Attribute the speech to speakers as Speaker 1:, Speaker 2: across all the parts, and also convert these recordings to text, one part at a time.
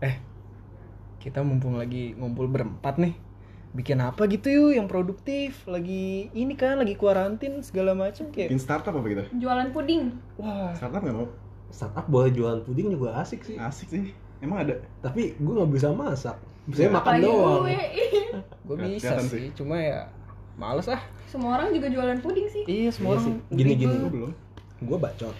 Speaker 1: eh kita mumpung lagi ngumpul berempat nih bikin apa gitu yuk yang produktif lagi ini kan lagi kuarantin segala macam kayak
Speaker 2: Bikin startup apa gitu?
Speaker 3: Jualan puding.
Speaker 1: wah
Speaker 2: Startup nggak mau?
Speaker 4: startup boleh jualan puding juga asik sih
Speaker 2: Asik sih. Emang ada?
Speaker 4: tapi gue nggak bisa masak
Speaker 2: Ya.
Speaker 4: saya makan
Speaker 3: Apalagi
Speaker 4: doang
Speaker 3: gue. Ih,
Speaker 1: gue
Speaker 2: Nggak
Speaker 1: bisa
Speaker 2: kelihatan
Speaker 1: sih cuma ya males ah
Speaker 3: Semua orang juga jualan puding sih.
Speaker 1: iya semua
Speaker 4: Iya sih.
Speaker 1: orang
Speaker 4: Gini,
Speaker 1: gitu.
Speaker 4: gini.
Speaker 2: Gue belum.
Speaker 4: gue bacot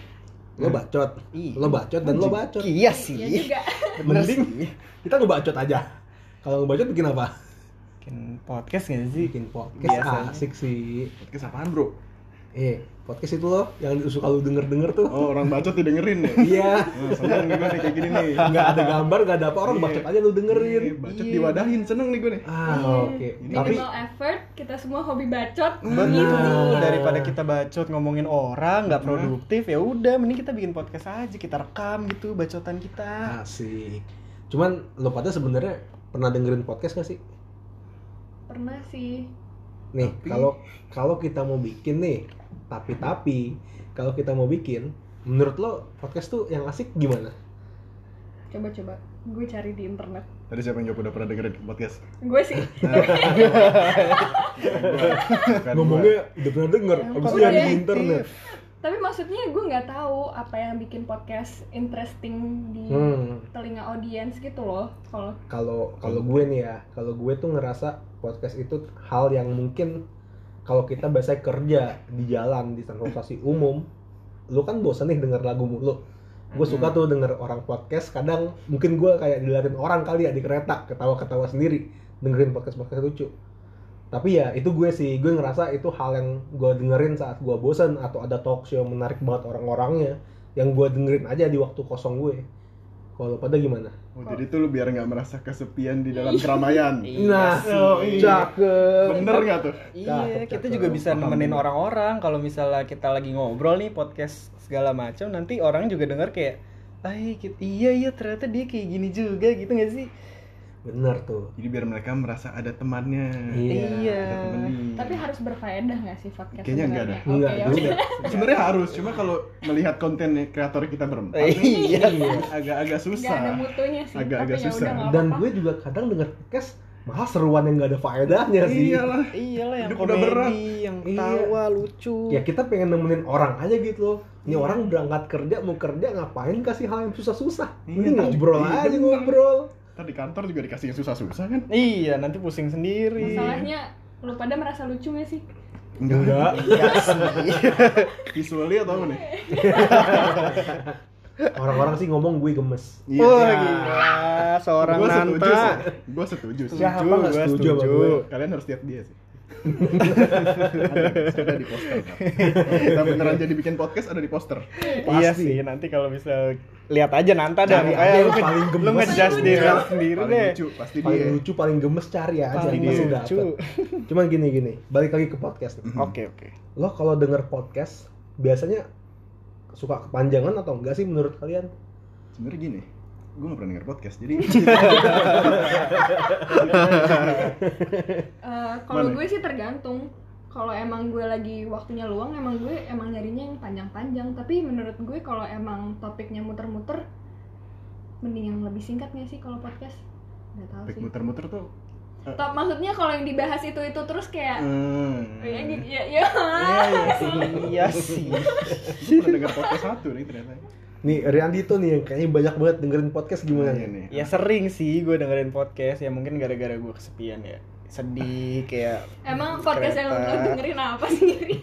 Speaker 4: lo
Speaker 2: Hmm.
Speaker 4: bacot
Speaker 1: Ih,
Speaker 4: lo bacot dan lo
Speaker 1: anjing.
Speaker 4: bacot
Speaker 1: iya
Speaker 3: Iya
Speaker 1: sih
Speaker 3: juga.
Speaker 1: bener
Speaker 4: Mending-
Speaker 1: sih
Speaker 4: kita ngebacot aja kalau ngebacot bikin apa
Speaker 1: bikin podcast gak sih
Speaker 4: bikin podcast
Speaker 1: Biasanya.
Speaker 4: asik sih
Speaker 2: Podcast apaan bro?
Speaker 4: eh podcast itu loh yang suka lu denger denger tuh
Speaker 2: Oh orang bacot tuh dengerin ya?
Speaker 4: iya
Speaker 2: Nah, seneng nih gue nih kayak gini nih.
Speaker 4: nggak ada gambar nggak ada apa orang
Speaker 2: Iya.
Speaker 4: bacot aja lu dengerin
Speaker 2: Iya, Bacot diwadahin seneng nih gue nih.
Speaker 4: ah oke
Speaker 2: Ini
Speaker 4: tapi
Speaker 3: Minimal effort, kita semua hobi bacot.
Speaker 1: bener
Speaker 4: Nah.
Speaker 1: daripada kita bacot ngomongin orang nggak produktif ya udah mending kita bikin podcast aja kita rekam gitu bacotan kita
Speaker 4: asik cuman lo pada sebenarnya pernah dengerin podcast gak sih
Speaker 3: Pernah sih.
Speaker 4: nih
Speaker 2: Tapi-
Speaker 4: kalau kalau kita mau bikin nih tapi tapi kalau kita mau bikin menurut lo podcast tuh yang asik gimana
Speaker 3: Coba-coba. Gue cari di internet.
Speaker 2: Tadi siapa yang jawab udah pernah dengerin podcast?
Speaker 3: Gue sih.
Speaker 2: Bukan gue. Bukan gue.
Speaker 4: ngomongnya udah pernah denger
Speaker 1: Yang
Speaker 4: abis itu ada di
Speaker 3: produktif.
Speaker 4: internet
Speaker 3: Tapi maksudnya gue nggak tahu apa yang bikin podcast interesting di
Speaker 4: hmm.
Speaker 3: telinga audiens gitu loh. Kalau
Speaker 4: kalau kalau gue nih ya kalau gue tuh ngerasa podcast itu hal yang mungkin kalau kita biasa kerja di jalan di transportasi umum lu kan bosan nih denger lagu mulu gue suka tuh denger orang podcast kadang mungkin gue kayak diliatin orang kali ya di kereta ketawa-ketawa sendiri dengerin podcast podcast lucu tapi ya itu gue sih gue ngerasa itu hal yang gue dengerin saat gue bosan atau ada talk show yang menarik banget orang-orangnya yang gue dengerin aja di waktu kosong gue kalau pada gimana
Speaker 2: Oh, jadi tuh lu biar nggak merasa kesepian di dalam keramaian.
Speaker 4: Nah, cakep.
Speaker 2: Bener nggak tuh?
Speaker 1: Iya,
Speaker 4: Cakep,
Speaker 1: kita
Speaker 4: cakep.
Speaker 1: juga bisa
Speaker 2: Paham,
Speaker 1: nemenin
Speaker 2: bener.
Speaker 1: orang-orang kalau misalnya kita lagi ngobrol nih podcast segala macam, nanti orang juga denger kayak, "Ay, ki- iya iya ternyata dia kayak gini juga gitu gak sih?"
Speaker 4: Bener tuh.
Speaker 2: Jadi biar mereka merasa ada temannya.
Speaker 4: Iya.
Speaker 1: Iya.
Speaker 2: Ada temennya.
Speaker 3: tapi harus berfaedah nggak sih podcast?
Speaker 2: Kayaknya nggak
Speaker 3: sebenarnya?
Speaker 4: ada. Hmm. Nggak
Speaker 3: Oke, ya
Speaker 4: juga.
Speaker 3: udah.
Speaker 2: Sebenarnya harus, cuma kalau melihat konten kreator kita berempat
Speaker 1: Eh,
Speaker 2: nih,
Speaker 1: Iya.
Speaker 2: agak-agak
Speaker 3: Nggak ada
Speaker 2: susah.
Speaker 3: mutunya sih.
Speaker 2: Agak-agak
Speaker 3: tapi ya
Speaker 2: susah.
Speaker 3: udah nggak
Speaker 4: Dan
Speaker 3: apa-apa.
Speaker 4: gue juga kadang denger podcast malah seruan yang gak ada faedahnya sih.
Speaker 2: Iyalah.
Speaker 1: Iyalah yang
Speaker 2: Hidup udah berat.
Speaker 1: komedi, yang
Speaker 4: Iya.
Speaker 1: tawa, lucu.
Speaker 4: Ya kita pengen nemenin orang aja gitu loh. Ini orang berangkat kerja mau kerja ngapain kasih hal yang susah-susah.
Speaker 2: Iya,
Speaker 4: Ini ngobrol
Speaker 2: iya, bener.
Speaker 4: aja ngobrol.
Speaker 2: Ntar di kantor juga dikasih yang susah-susah kan?
Speaker 1: Iya, nanti pusing sendiri.
Speaker 3: Masalahnya lu pada merasa lucu gak sih?
Speaker 4: Enggak.
Speaker 1: Iya sih.
Speaker 2: Visualnya atau apa nih?
Speaker 4: Orang-orang sih ngomong gue gemes.
Speaker 2: Iya.
Speaker 1: Wah, gila, seorang
Speaker 2: Gua setuju
Speaker 1: nanta. Iya.
Speaker 2: sih. Gua setuju sih.
Speaker 4: Siapa nggak
Speaker 1: gua
Speaker 4: setuju sama gue?
Speaker 2: Kalian harus lihat dia sih. ada, ada di poster. Ntar. Kalau Kita beneran jadi bikin podcast ada di poster.
Speaker 1: Iya
Speaker 4: Pasti.
Speaker 1: sih, nanti kalau bisa lihat aaja nanta dah.
Speaker 4: Cari
Speaker 1: Kayak
Speaker 4: aja
Speaker 1: lu,
Speaker 4: yang paling
Speaker 1: lu
Speaker 4: gemes.
Speaker 1: ngejudge
Speaker 4: Paling
Speaker 1: diri lu
Speaker 2: Iya.
Speaker 1: sendiri
Speaker 2: Paling
Speaker 1: deh.
Speaker 2: lucu, pasti
Speaker 4: Paling
Speaker 2: dia.
Speaker 4: lucu, paling gemes cari aja
Speaker 1: Paling
Speaker 4: pasti
Speaker 1: lucu. Mhm.
Speaker 4: dapet. Cuman gini gini, balik lagi ke podcast. nih.
Speaker 1: Oke, oke.
Speaker 4: Lo kalau denger podcast biasanya suka kepanjangan atau enggak sih menurut kalian?
Speaker 2: Sebenernya gini, gue gak pernah denger podcast, jadi
Speaker 3: Eh, kalau
Speaker 2: Mana?
Speaker 3: gue sih tergantung. Kalau emang gue lagi waktunya luang, emang gue emang nyarinya yang panjang-panjang. Tapi menurut gue kalau emang topiknya muter-muter, mending yang lebih singkat nggak sih kalau podcast? Gak tahu
Speaker 2: Topik
Speaker 3: sih.
Speaker 2: muter-muter tuh.
Speaker 3: Top, maksudnya kalau yang dibahas itu itu terus kayak
Speaker 2: Hmm.
Speaker 3: ya gitu ya ya.
Speaker 1: Iya sih.
Speaker 2: Gue pernah denger podcast satu nih ternyata.
Speaker 4: Nih, Riandi tuh nih yang kayaknya banyak banget dengerin podcast gimana
Speaker 2: Iya
Speaker 4: nih?
Speaker 2: nih.
Speaker 1: Ya sering sih gue dengerin podcast ya mungkin gara-gara gue kesepian ya sedih kayak
Speaker 3: Emang podcast yang lo
Speaker 1: Kereta.
Speaker 3: dengerin apa sendiri?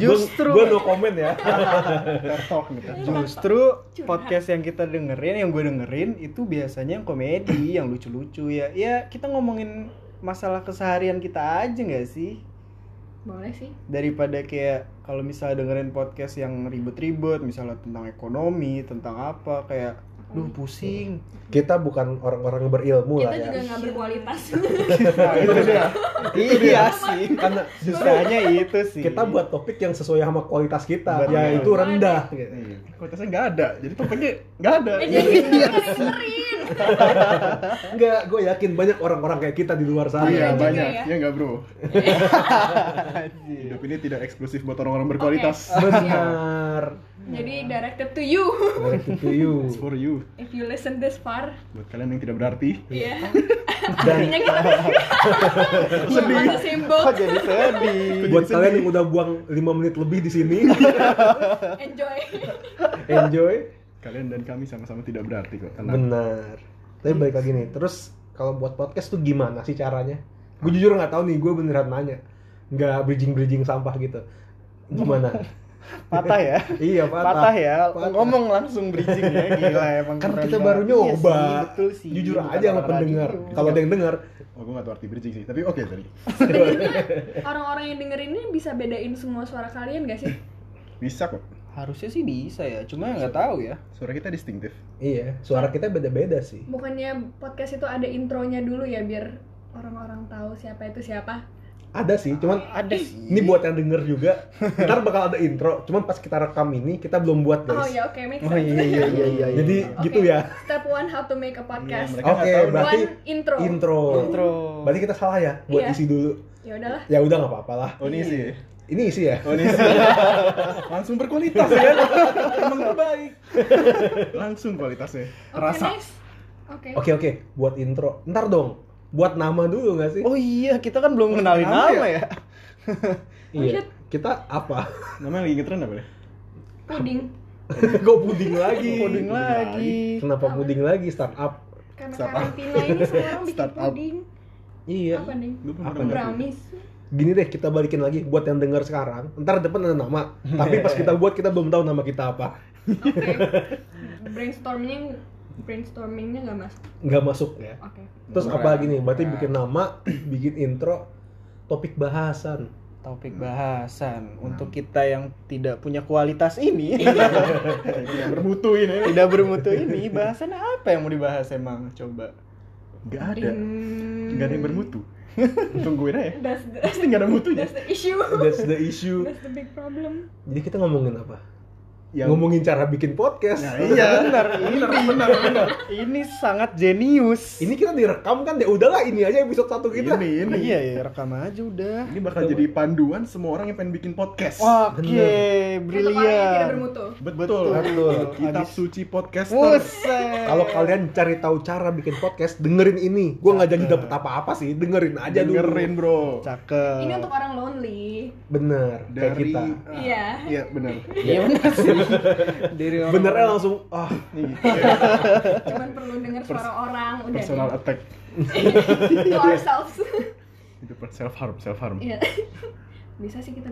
Speaker 1: justru Iya,
Speaker 4: Gue no comment ya.
Speaker 2: Ter talk nih, ter talk.
Speaker 1: gitu. justru podcast yang kita dengerin yang gue dengerin itu biasanya yang komedi yang lucu-lucu ya ya kita ngomongin masalah keseharian kita aja nggak sih
Speaker 3: Boleh sih.
Speaker 1: daripada kayak kalau misalnya dengerin podcast yang ribet-ribet misalnya tentang ekonomi tentang apa kayak duh pusing
Speaker 4: Kita bukan orang-orang berilmu
Speaker 3: Kita
Speaker 4: lah ya.
Speaker 3: juga nggak berkualitas.
Speaker 2: Nah, itu dia.
Speaker 1: iya sih
Speaker 4: Karena justru
Speaker 1: susahnya itu sih
Speaker 4: kita buat topik yang sesuai sama kualitas kita,
Speaker 1: Betul.
Speaker 4: yaitu rendah. gitu.
Speaker 2: Iya. Kualitasnya nggak ada, jadi topiknya nggak ada.
Speaker 3: Eh, jadi
Speaker 2: Iya.
Speaker 4: Enggak, gue yakin banyak orang-orang kayak kita di luar sana.
Speaker 2: Iya
Speaker 3: Iya juga
Speaker 2: banyak,
Speaker 3: ya.
Speaker 2: iya nggak bro? Hidup ini tidak eksklusif buat orang-orang berkualitas.
Speaker 3: Oke.
Speaker 4: Benar. gitu,
Speaker 3: Jadi directed to you
Speaker 4: Directed to you.
Speaker 2: It's for you.
Speaker 3: if you listen this far.
Speaker 2: Buat kalian yang tidak berarti.
Speaker 3: Iya.
Speaker 4: Dan
Speaker 3: Artinya kita sedih. On the same boat.
Speaker 1: Kok jadi sedih?
Speaker 4: buat kalian yang udah buang 5 menit lebih di sini,
Speaker 3: Enjoy.
Speaker 4: enjoy.
Speaker 2: Kalian dan kami sama-sama tidak berarti kok. Tenang.
Speaker 4: Benar. Tapi balik lagi nih, terus kalau buat podcast tuh gimana sih caranya? Gue jujur nggak tahu nih, gue beneran nanya. Nggak bridging-bridging sampah gitu. Gimana?
Speaker 1: Patah ya?
Speaker 4: iya, patah.
Speaker 1: Patah ya?
Speaker 4: Patah.
Speaker 1: Ngomong langsung bridging ya, gila emang
Speaker 4: Kan
Speaker 1: keren
Speaker 4: kita
Speaker 1: banget.
Speaker 4: baru
Speaker 1: Iya
Speaker 4: nyoba.
Speaker 1: sih, betul sih. Iya.
Speaker 4: Jujur
Speaker 1: Bukan
Speaker 4: aja sama
Speaker 1: orang
Speaker 4: pendengar.
Speaker 1: radio.
Speaker 4: Kalau ada yang dengar,
Speaker 2: Oh, gue gak tahu arti bridging sih. Tapi oke tadi.
Speaker 3: Sebenarnya orang-orang yang dengerin ini bisa bedain semua suara kalian gak sih?
Speaker 2: Bisa kok.
Speaker 1: Harusnya sih bisa ya, cuma nggak tahu ya.
Speaker 2: Suara kita distinktif.
Speaker 4: iya, suara kita beda-beda sih.
Speaker 3: Bukannya podcast itu ada intronya dulu ya biar orang-orang tahu siapa itu siapa.
Speaker 4: Ada sih, cuman
Speaker 1: Ada sih.
Speaker 4: Ini buat yang denger juga. Ntar bakal ada intro. Cuman pas kita rekam ini kita belum buat guys.
Speaker 3: Oh ya oke make
Speaker 1: Oh iya
Speaker 3: sense.
Speaker 1: iya iya iya. iya.
Speaker 4: Jadi
Speaker 3: Oke.
Speaker 4: gitu ya.
Speaker 3: Step one how to make a podcast.
Speaker 2: Iya, mereka
Speaker 4: Oke,
Speaker 2: nggak tahu
Speaker 4: berarti
Speaker 3: One intro.
Speaker 4: intro.
Speaker 1: intro.
Speaker 4: Berarti kita salah ya buat
Speaker 3: Iya.
Speaker 4: isi dulu.
Speaker 3: Ya udahlah.
Speaker 4: Ya udah nggak apa-apa lah.
Speaker 2: Oh ini sih.
Speaker 4: Ini isi ya.
Speaker 2: Oh ini sih. Langsung berkualitas ya. Emang terbaik. Langsung kualitasnya.
Speaker 3: Oke
Speaker 2: Terasa.
Speaker 3: nice. Oke.
Speaker 4: Oke oke, buat intro. Ntar dong. Buat nama dulu nggak sih?
Speaker 1: Oh iya, kita kan belum kenalin
Speaker 2: kenal
Speaker 1: nama ya.
Speaker 4: iya.
Speaker 3: shit.
Speaker 4: Kita apa?
Speaker 2: Namanya lagi ngetren apa ya?
Speaker 3: Puding.
Speaker 4: Gue puding lagi.
Speaker 1: Coding lagi.
Speaker 4: Kenapa puding lagi startup?
Speaker 3: Karena
Speaker 2: Startup.
Speaker 3: karantina ini semua orang bikin
Speaker 2: Startup.
Speaker 3: puding.
Speaker 4: Iya.
Speaker 3: Apa nih?
Speaker 2: Gue
Speaker 4: Apa
Speaker 2: pernah
Speaker 3: Brownies.
Speaker 4: Gini deh kita balikin lagi buat yang denger sekarang. Ntar depan ada nama. Tapi pas kita buat kita belum tahu nama kita apa.
Speaker 3: Oke. Brainstorming brainstormingnya nggak masuk.
Speaker 4: Nggak masuk ya.
Speaker 3: Oke.
Speaker 4: Terus
Speaker 2: Beneran.
Speaker 4: apa lagi nih? Berarti bikin
Speaker 2: Nah.
Speaker 4: nama, bikin intro, topik bahasan.
Speaker 1: Topik
Speaker 4: Hmm.
Speaker 1: bahasan untuk kita yang tidak punya kualitas ini,
Speaker 2: Yang bermutu ini.
Speaker 1: tidak bermutu ini, bahasan apa yang mau dibahas emang? Coba.
Speaker 2: Gak ada. Gak ada yang bermutu. Tungguin aja.
Speaker 3: That's the,
Speaker 2: Pasti gak ada ya? mutunya.
Speaker 3: that's the issue.
Speaker 4: That's the issue.
Speaker 3: That's the big problem.
Speaker 4: Jadi kita ngomongin apa?
Speaker 2: Yang
Speaker 4: Ngomongin cara bikin podcast.
Speaker 2: Nah, iya.
Speaker 1: Benar, ini benar, benar. Ini sangat jenius.
Speaker 4: Ini kita direkam kan ya udahlah ini aja episode satu kita.
Speaker 2: ini ini.
Speaker 1: iya ya, rekam aja udah.
Speaker 2: Ini bakal jadi panduan semua orang yang pengen bikin podcast.
Speaker 1: Oke,
Speaker 3: Untuk orang yang tidak
Speaker 1: brilian.
Speaker 3: bermutu.
Speaker 2: Betul.
Speaker 1: Betul.
Speaker 2: Kitab
Speaker 1: Habis-
Speaker 2: suci podcaster.
Speaker 1: Buset.
Speaker 4: Kalau kalian cari tahu cara bikin podcast, dengerin ini. Gua nggak jadi dapet apa-apa sih, dengerin aja
Speaker 2: Nah.
Speaker 4: dulu.
Speaker 2: Dengerin, Bro. Eh.
Speaker 1: cakep.
Speaker 3: Ini untuk orang lonely.
Speaker 4: Bener, kayak
Speaker 2: Dari
Speaker 4: kita.
Speaker 2: ah,
Speaker 3: Iya.
Speaker 2: Iya, benar.
Speaker 1: Iya benar sih. Dari orang-
Speaker 4: Benernya langsung, ah
Speaker 2: Nih,
Speaker 3: Cuman perlu dengar suara orang. Udah.
Speaker 2: personal attack.
Speaker 3: To ourselves.
Speaker 2: Itu self harm, self harm.
Speaker 3: Iya. Bisa sih kita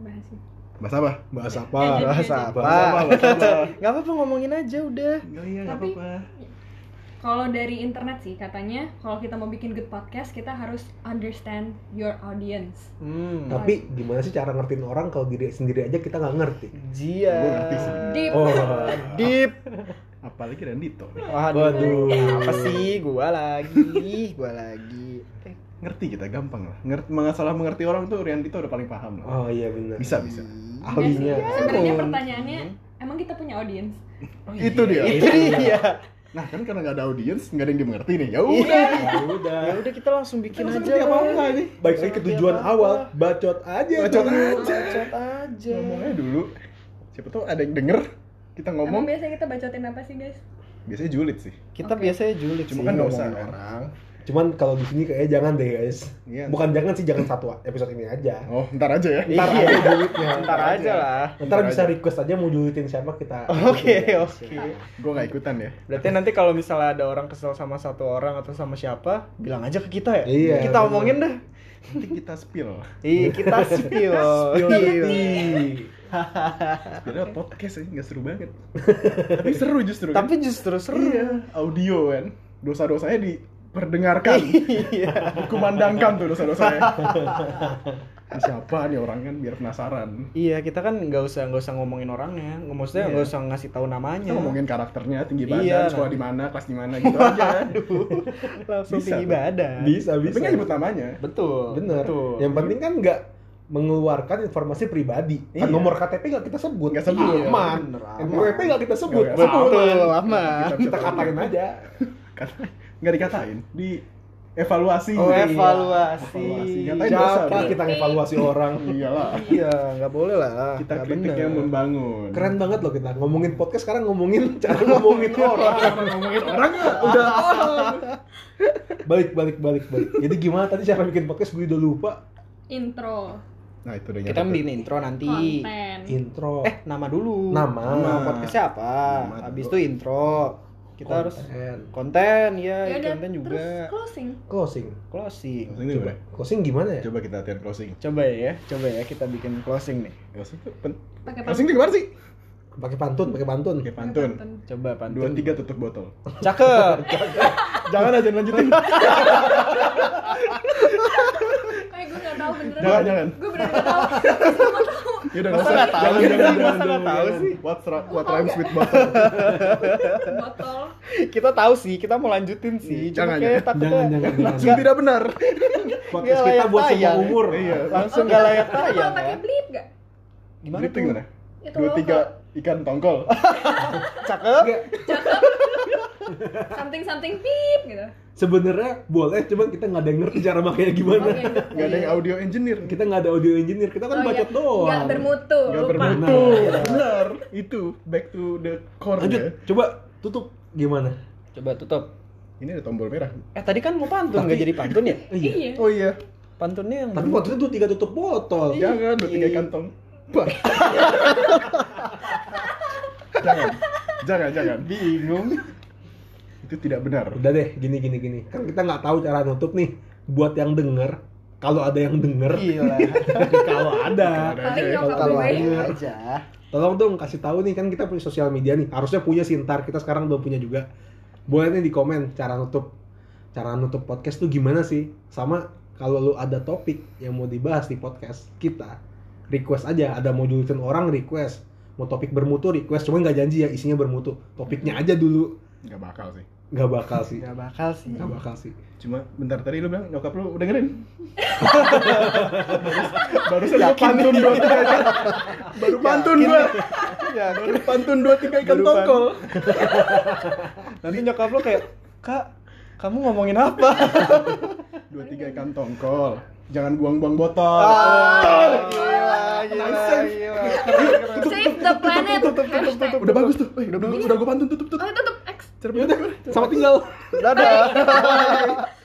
Speaker 3: bahas sih.
Speaker 2: Bahasa apa?
Speaker 4: bahas
Speaker 3: Iya,
Speaker 4: apa?
Speaker 3: jadi-
Speaker 1: bahasa apa?
Speaker 4: Bahasa apa,
Speaker 1: Gak apa-apa ngomongin aja udah.
Speaker 2: Enggak iya, enggak
Speaker 3: Tapi-
Speaker 2: apa-apa.
Speaker 3: Kalau dari internet sih katanya kalau kita mau bikin good podcast kita harus understand your audience.
Speaker 1: Hmm.
Speaker 4: Tapi gimana sih cara ngertiin orang kalau diri sendiri aja kita nggak ngerti?
Speaker 1: Jia.
Speaker 2: Gua ngerti sih.
Speaker 3: Deep.
Speaker 4: Oh,
Speaker 1: Deep.
Speaker 2: Apalagi Randito.
Speaker 1: Waduh.
Speaker 4: waduh.
Speaker 1: Apa sih? Gua lagi, gua lagi.
Speaker 2: Ngerti kita gampang lah. Ngerti salah mengerti orang tuh Randito udah paling paham lah.
Speaker 4: Oh iya benar.
Speaker 2: Bisa bisa.
Speaker 4: Ahlinya.
Speaker 3: Ya, Sebenarnya
Speaker 1: Mungkin.
Speaker 3: pertanyaannya
Speaker 2: Hmm.
Speaker 3: emang kita punya audience?
Speaker 2: Itu dia.
Speaker 1: Itu dia.
Speaker 2: Nah, kan karena nggak ada audiens, nggak ada yang dimengerti nih. Ya udah.
Speaker 4: Ya udah.
Speaker 1: Ya udah kita langsung bikin
Speaker 2: Kita
Speaker 1: aja.
Speaker 2: langsung bikin apa-apa
Speaker 1: lah.
Speaker 2: ini.
Speaker 4: Baik lagi ke tujuan
Speaker 1: Apa?
Speaker 4: awal, bacot aja.
Speaker 2: Bacot
Speaker 4: dulu.
Speaker 1: Iya, Bacot aja.
Speaker 2: Ngomongnya dulu. Siapa tuh ada yang denger kita
Speaker 3: Emang ya?
Speaker 2: ngomong.
Speaker 3: biasanya kita bacotin apa sih guys?
Speaker 2: Biasanya julid sih.
Speaker 1: Kita
Speaker 3: Oke.
Speaker 1: biasanya julid
Speaker 2: Cuma
Speaker 1: sih
Speaker 2: kan nggak usah,
Speaker 1: ngomongin
Speaker 2: kan?
Speaker 1: orang.
Speaker 4: Cuman kalau di sini kayaknya jangan deh guys.
Speaker 2: Iya.
Speaker 4: Bukan jangan sih, jangan satu episode ini aja.
Speaker 2: Oh, ntar aja ya.
Speaker 1: Ntar
Speaker 4: Iya.
Speaker 1: aja
Speaker 4: Julidnya.
Speaker 1: Ntar aja lah.
Speaker 4: Ntar
Speaker 2: Ntar
Speaker 4: bisa
Speaker 2: aja.
Speaker 4: request aja mau julitin siapa kita.
Speaker 1: Oke, oke.
Speaker 2: Gue nggak ikutan ya.
Speaker 1: Berarti nanti kalau misalnya ada orang kesel sama satu orang atau sama siapa, bilang aja ke kita ya.
Speaker 4: Iya,
Speaker 1: kita
Speaker 4: bener.
Speaker 1: omongin dah.
Speaker 2: Nanti kita spill.
Speaker 1: Iya, kita spill. Iya.
Speaker 2: Sebenarnya podcast aja nggak seru banget. Tapi seru justru. kan?
Speaker 1: Tapi justru seru.
Speaker 2: iya, audio kan. Dosa-dosanya diperdengarkan.
Speaker 1: Iya.
Speaker 2: Kumandangkan tuh dosa-dosanya. Ini Siapa nih orang kan biar penasaran.
Speaker 1: Iya, kita kan nggak usah nggak usah ngomongin orangnya. Nggak maksudnya
Speaker 2: Iya.
Speaker 1: nggak usah ngasih tahu namanya.
Speaker 2: Kita ngomongin karakternya, tinggi badan,
Speaker 1: Iya.
Speaker 2: sekolah di mana, kelas di mana gitu aja.
Speaker 1: Aduh. Langsung
Speaker 2: Bisa,
Speaker 1: tinggi
Speaker 2: tuh.
Speaker 1: badan.
Speaker 4: Bisa
Speaker 2: Tapi
Speaker 4: bisa.
Speaker 2: nggak nyebut namanya.
Speaker 1: Betul.
Speaker 4: Bener.
Speaker 1: Betul.
Speaker 4: Yang penting kan nggak mengeluarkan informasi pribadi. Kan
Speaker 2: Iya.
Speaker 4: nomor KTP nggak kita sebut.
Speaker 2: Nggak sebut.
Speaker 4: Aman.
Speaker 1: Bener, Iya. aman.
Speaker 4: NPWP nggak kita sebut.
Speaker 2: Nggak, nggak.
Speaker 4: Aman.
Speaker 1: betul lama.
Speaker 4: Kita katain aja.
Speaker 2: Kata- nggak dikatain di evaluasi
Speaker 1: Oh,
Speaker 2: Iya.
Speaker 1: evaluasi.
Speaker 2: Evaluasi. Ngatain dosa
Speaker 4: Siapa
Speaker 2: dong.
Speaker 4: kita ngevaluasi orang?
Speaker 2: iyalah
Speaker 1: Iya, nggak boleh lah.
Speaker 2: kita
Speaker 1: Ah, nggak
Speaker 2: kritik
Speaker 1: bener.
Speaker 2: yang membangun
Speaker 4: Keren banget loh kita ngomongin podcast sekarang ngomongin cara ngomongin orang.
Speaker 2: Kenapa ngomongin orang ya
Speaker 4: Udah. balik balik balik balik. Jadi gimana tadi cara bikin podcast gue udah lupa.
Speaker 3: intro
Speaker 2: nah itu udah
Speaker 4: Iya,
Speaker 1: Kita bikin intro nanti.
Speaker 3: konten
Speaker 4: Intro.
Speaker 1: Eh, nama dulu.
Speaker 4: Nama.
Speaker 1: podcastnya apa?
Speaker 2: Nama
Speaker 1: Habis
Speaker 2: dulu.
Speaker 1: itu intro. Kita harus
Speaker 4: Konten.
Speaker 1: konten ya,
Speaker 3: Yaudah,
Speaker 1: konten
Speaker 3: terus
Speaker 1: juga.
Speaker 3: closing
Speaker 4: closing.
Speaker 1: Closing.
Speaker 2: closing dulu, Bre.
Speaker 4: Closing gimana ya?
Speaker 2: coba kita latihan closing
Speaker 1: Coba ya, coba ya kita bikin closing nih.
Speaker 2: closing tuh pen-
Speaker 3: pakai
Speaker 2: closing tuh gimana sih
Speaker 4: Pakai pantun, pakai pantun.
Speaker 2: Oke,
Speaker 3: pakai
Speaker 2: pantun
Speaker 3: pantun.
Speaker 1: Coba
Speaker 2: dua
Speaker 1: pantun.
Speaker 2: tiga tutup botol
Speaker 1: Cakep.
Speaker 2: jangan aja lanjutin
Speaker 3: Eh gue gak tau beneran
Speaker 2: Jangan, jangan.
Speaker 3: Gue beneran gak tau
Speaker 2: ya udah
Speaker 1: Masa nggak tahu
Speaker 2: jangan
Speaker 1: sih?
Speaker 2: jangan
Speaker 1: Masa
Speaker 2: jangan
Speaker 1: nggak tahu
Speaker 2: jangan.
Speaker 1: sih?
Speaker 2: what ra- what rhymes with botol
Speaker 3: Botol
Speaker 1: kita tahu sih, kita mau lanjutin sih. Cuma
Speaker 2: Iya, jangan,
Speaker 1: kayak
Speaker 2: jangan.
Speaker 1: takutnya
Speaker 4: Jangan jangan
Speaker 2: langsung
Speaker 4: jangan.
Speaker 2: tidak benar
Speaker 1: Iya,
Speaker 4: Podcast
Speaker 1: Nggak
Speaker 4: kita
Speaker 1: layak
Speaker 4: buat semua
Speaker 1: tayang.
Speaker 4: umur.
Speaker 2: Iya.
Speaker 1: langsung gak layak
Speaker 3: Gue
Speaker 1: tayang
Speaker 3: pakai
Speaker 1: ya.
Speaker 3: blip gak?
Speaker 1: Gimana
Speaker 2: Itu Iya.
Speaker 1: tuh?
Speaker 2: gimana
Speaker 3: Itu
Speaker 2: dua
Speaker 3: logo.
Speaker 2: tiga ikan tongkol
Speaker 1: Cakep.
Speaker 4: Nggak,
Speaker 3: Something something pip gitu
Speaker 4: Sebenarnya boleh, cuman kita nggak ada yang ngerti cara makanya gimana.
Speaker 3: Oke.
Speaker 2: nggak ada yang audio engineer
Speaker 4: Kita nggak ada audio engineer, kita
Speaker 3: Oh,
Speaker 4: kan bacot
Speaker 3: iya.
Speaker 4: doang.
Speaker 3: Nggak bermutu
Speaker 2: nggak
Speaker 3: lupa.
Speaker 2: bermutu
Speaker 4: Nah.
Speaker 2: benar itu back to the core
Speaker 4: Lanjut,
Speaker 2: ya
Speaker 4: coba tutup gimana?
Speaker 1: Coba tutup.
Speaker 2: ini ada tombol merah
Speaker 1: Eh tadi kan mau pantun nggak jadi pantun ya?
Speaker 3: Iya
Speaker 2: oh iya
Speaker 1: Pantunnya yang
Speaker 4: Tapi waktu itu tiga tutup botol.
Speaker 2: jangan dua tiga ikan tong Bah. jangan jangan jangan
Speaker 1: bingung.
Speaker 2: itu tidak benar
Speaker 4: ya. Udah deh, gini gini gini. Kan kita nggak tahu cara nutup nih. Buat yang denger, kalau ada yang denger,
Speaker 1: Gila.
Speaker 4: Iya. kalau ada,
Speaker 2: Ada aja
Speaker 1: iya,
Speaker 3: Paling
Speaker 2: ya.
Speaker 3: nyokap
Speaker 4: Kalau
Speaker 3: gue
Speaker 4: ada.
Speaker 1: aja.
Speaker 4: tolong dong kasih tahu nih kan kita punya sosial media nih. Harusnya punya sih ntar kita sekarang belum punya juga. Boleh nih di komen cara nutup cara nutup podcast tuh gimana sih? Sama kalau lu ada topik yang mau dibahas di podcast kita, request aja. Ada mau julitin orang request, mau topik bermutu request. Cuman nggak janji ya isinya bermutu. Topiknya aja dulu.
Speaker 2: nggak bakal sih
Speaker 4: Nggak bakal sih.
Speaker 1: Gak bakal sih.
Speaker 4: Nggak bakal sih.
Speaker 2: cuma bentar tadi lu bilang nyokap lu udah dengerin barusan gua
Speaker 1: Yakin.
Speaker 2: pantun dua tiga ikan baru pantun
Speaker 1: gitu. Yakin.
Speaker 2: gua
Speaker 1: Ya,
Speaker 2: baru pantun dua tiga ikan
Speaker 1: Baru pan-
Speaker 2: tongkol
Speaker 1: nanti nyokap lo kayak, "Kak, kamu ngomongin apa?"
Speaker 2: dua tiga ikan tongkol jangan buang-buang botol
Speaker 1: Ah, gila, gila, gila. Keren, keren.
Speaker 3: Save the planet Oh, Hashtag
Speaker 2: udah bagus tuh Eh, udah bagus udah gua pantun tutup tutup
Speaker 3: Oh tutup X
Speaker 4: Yaudah, sama tinggal.
Speaker 1: Dadah.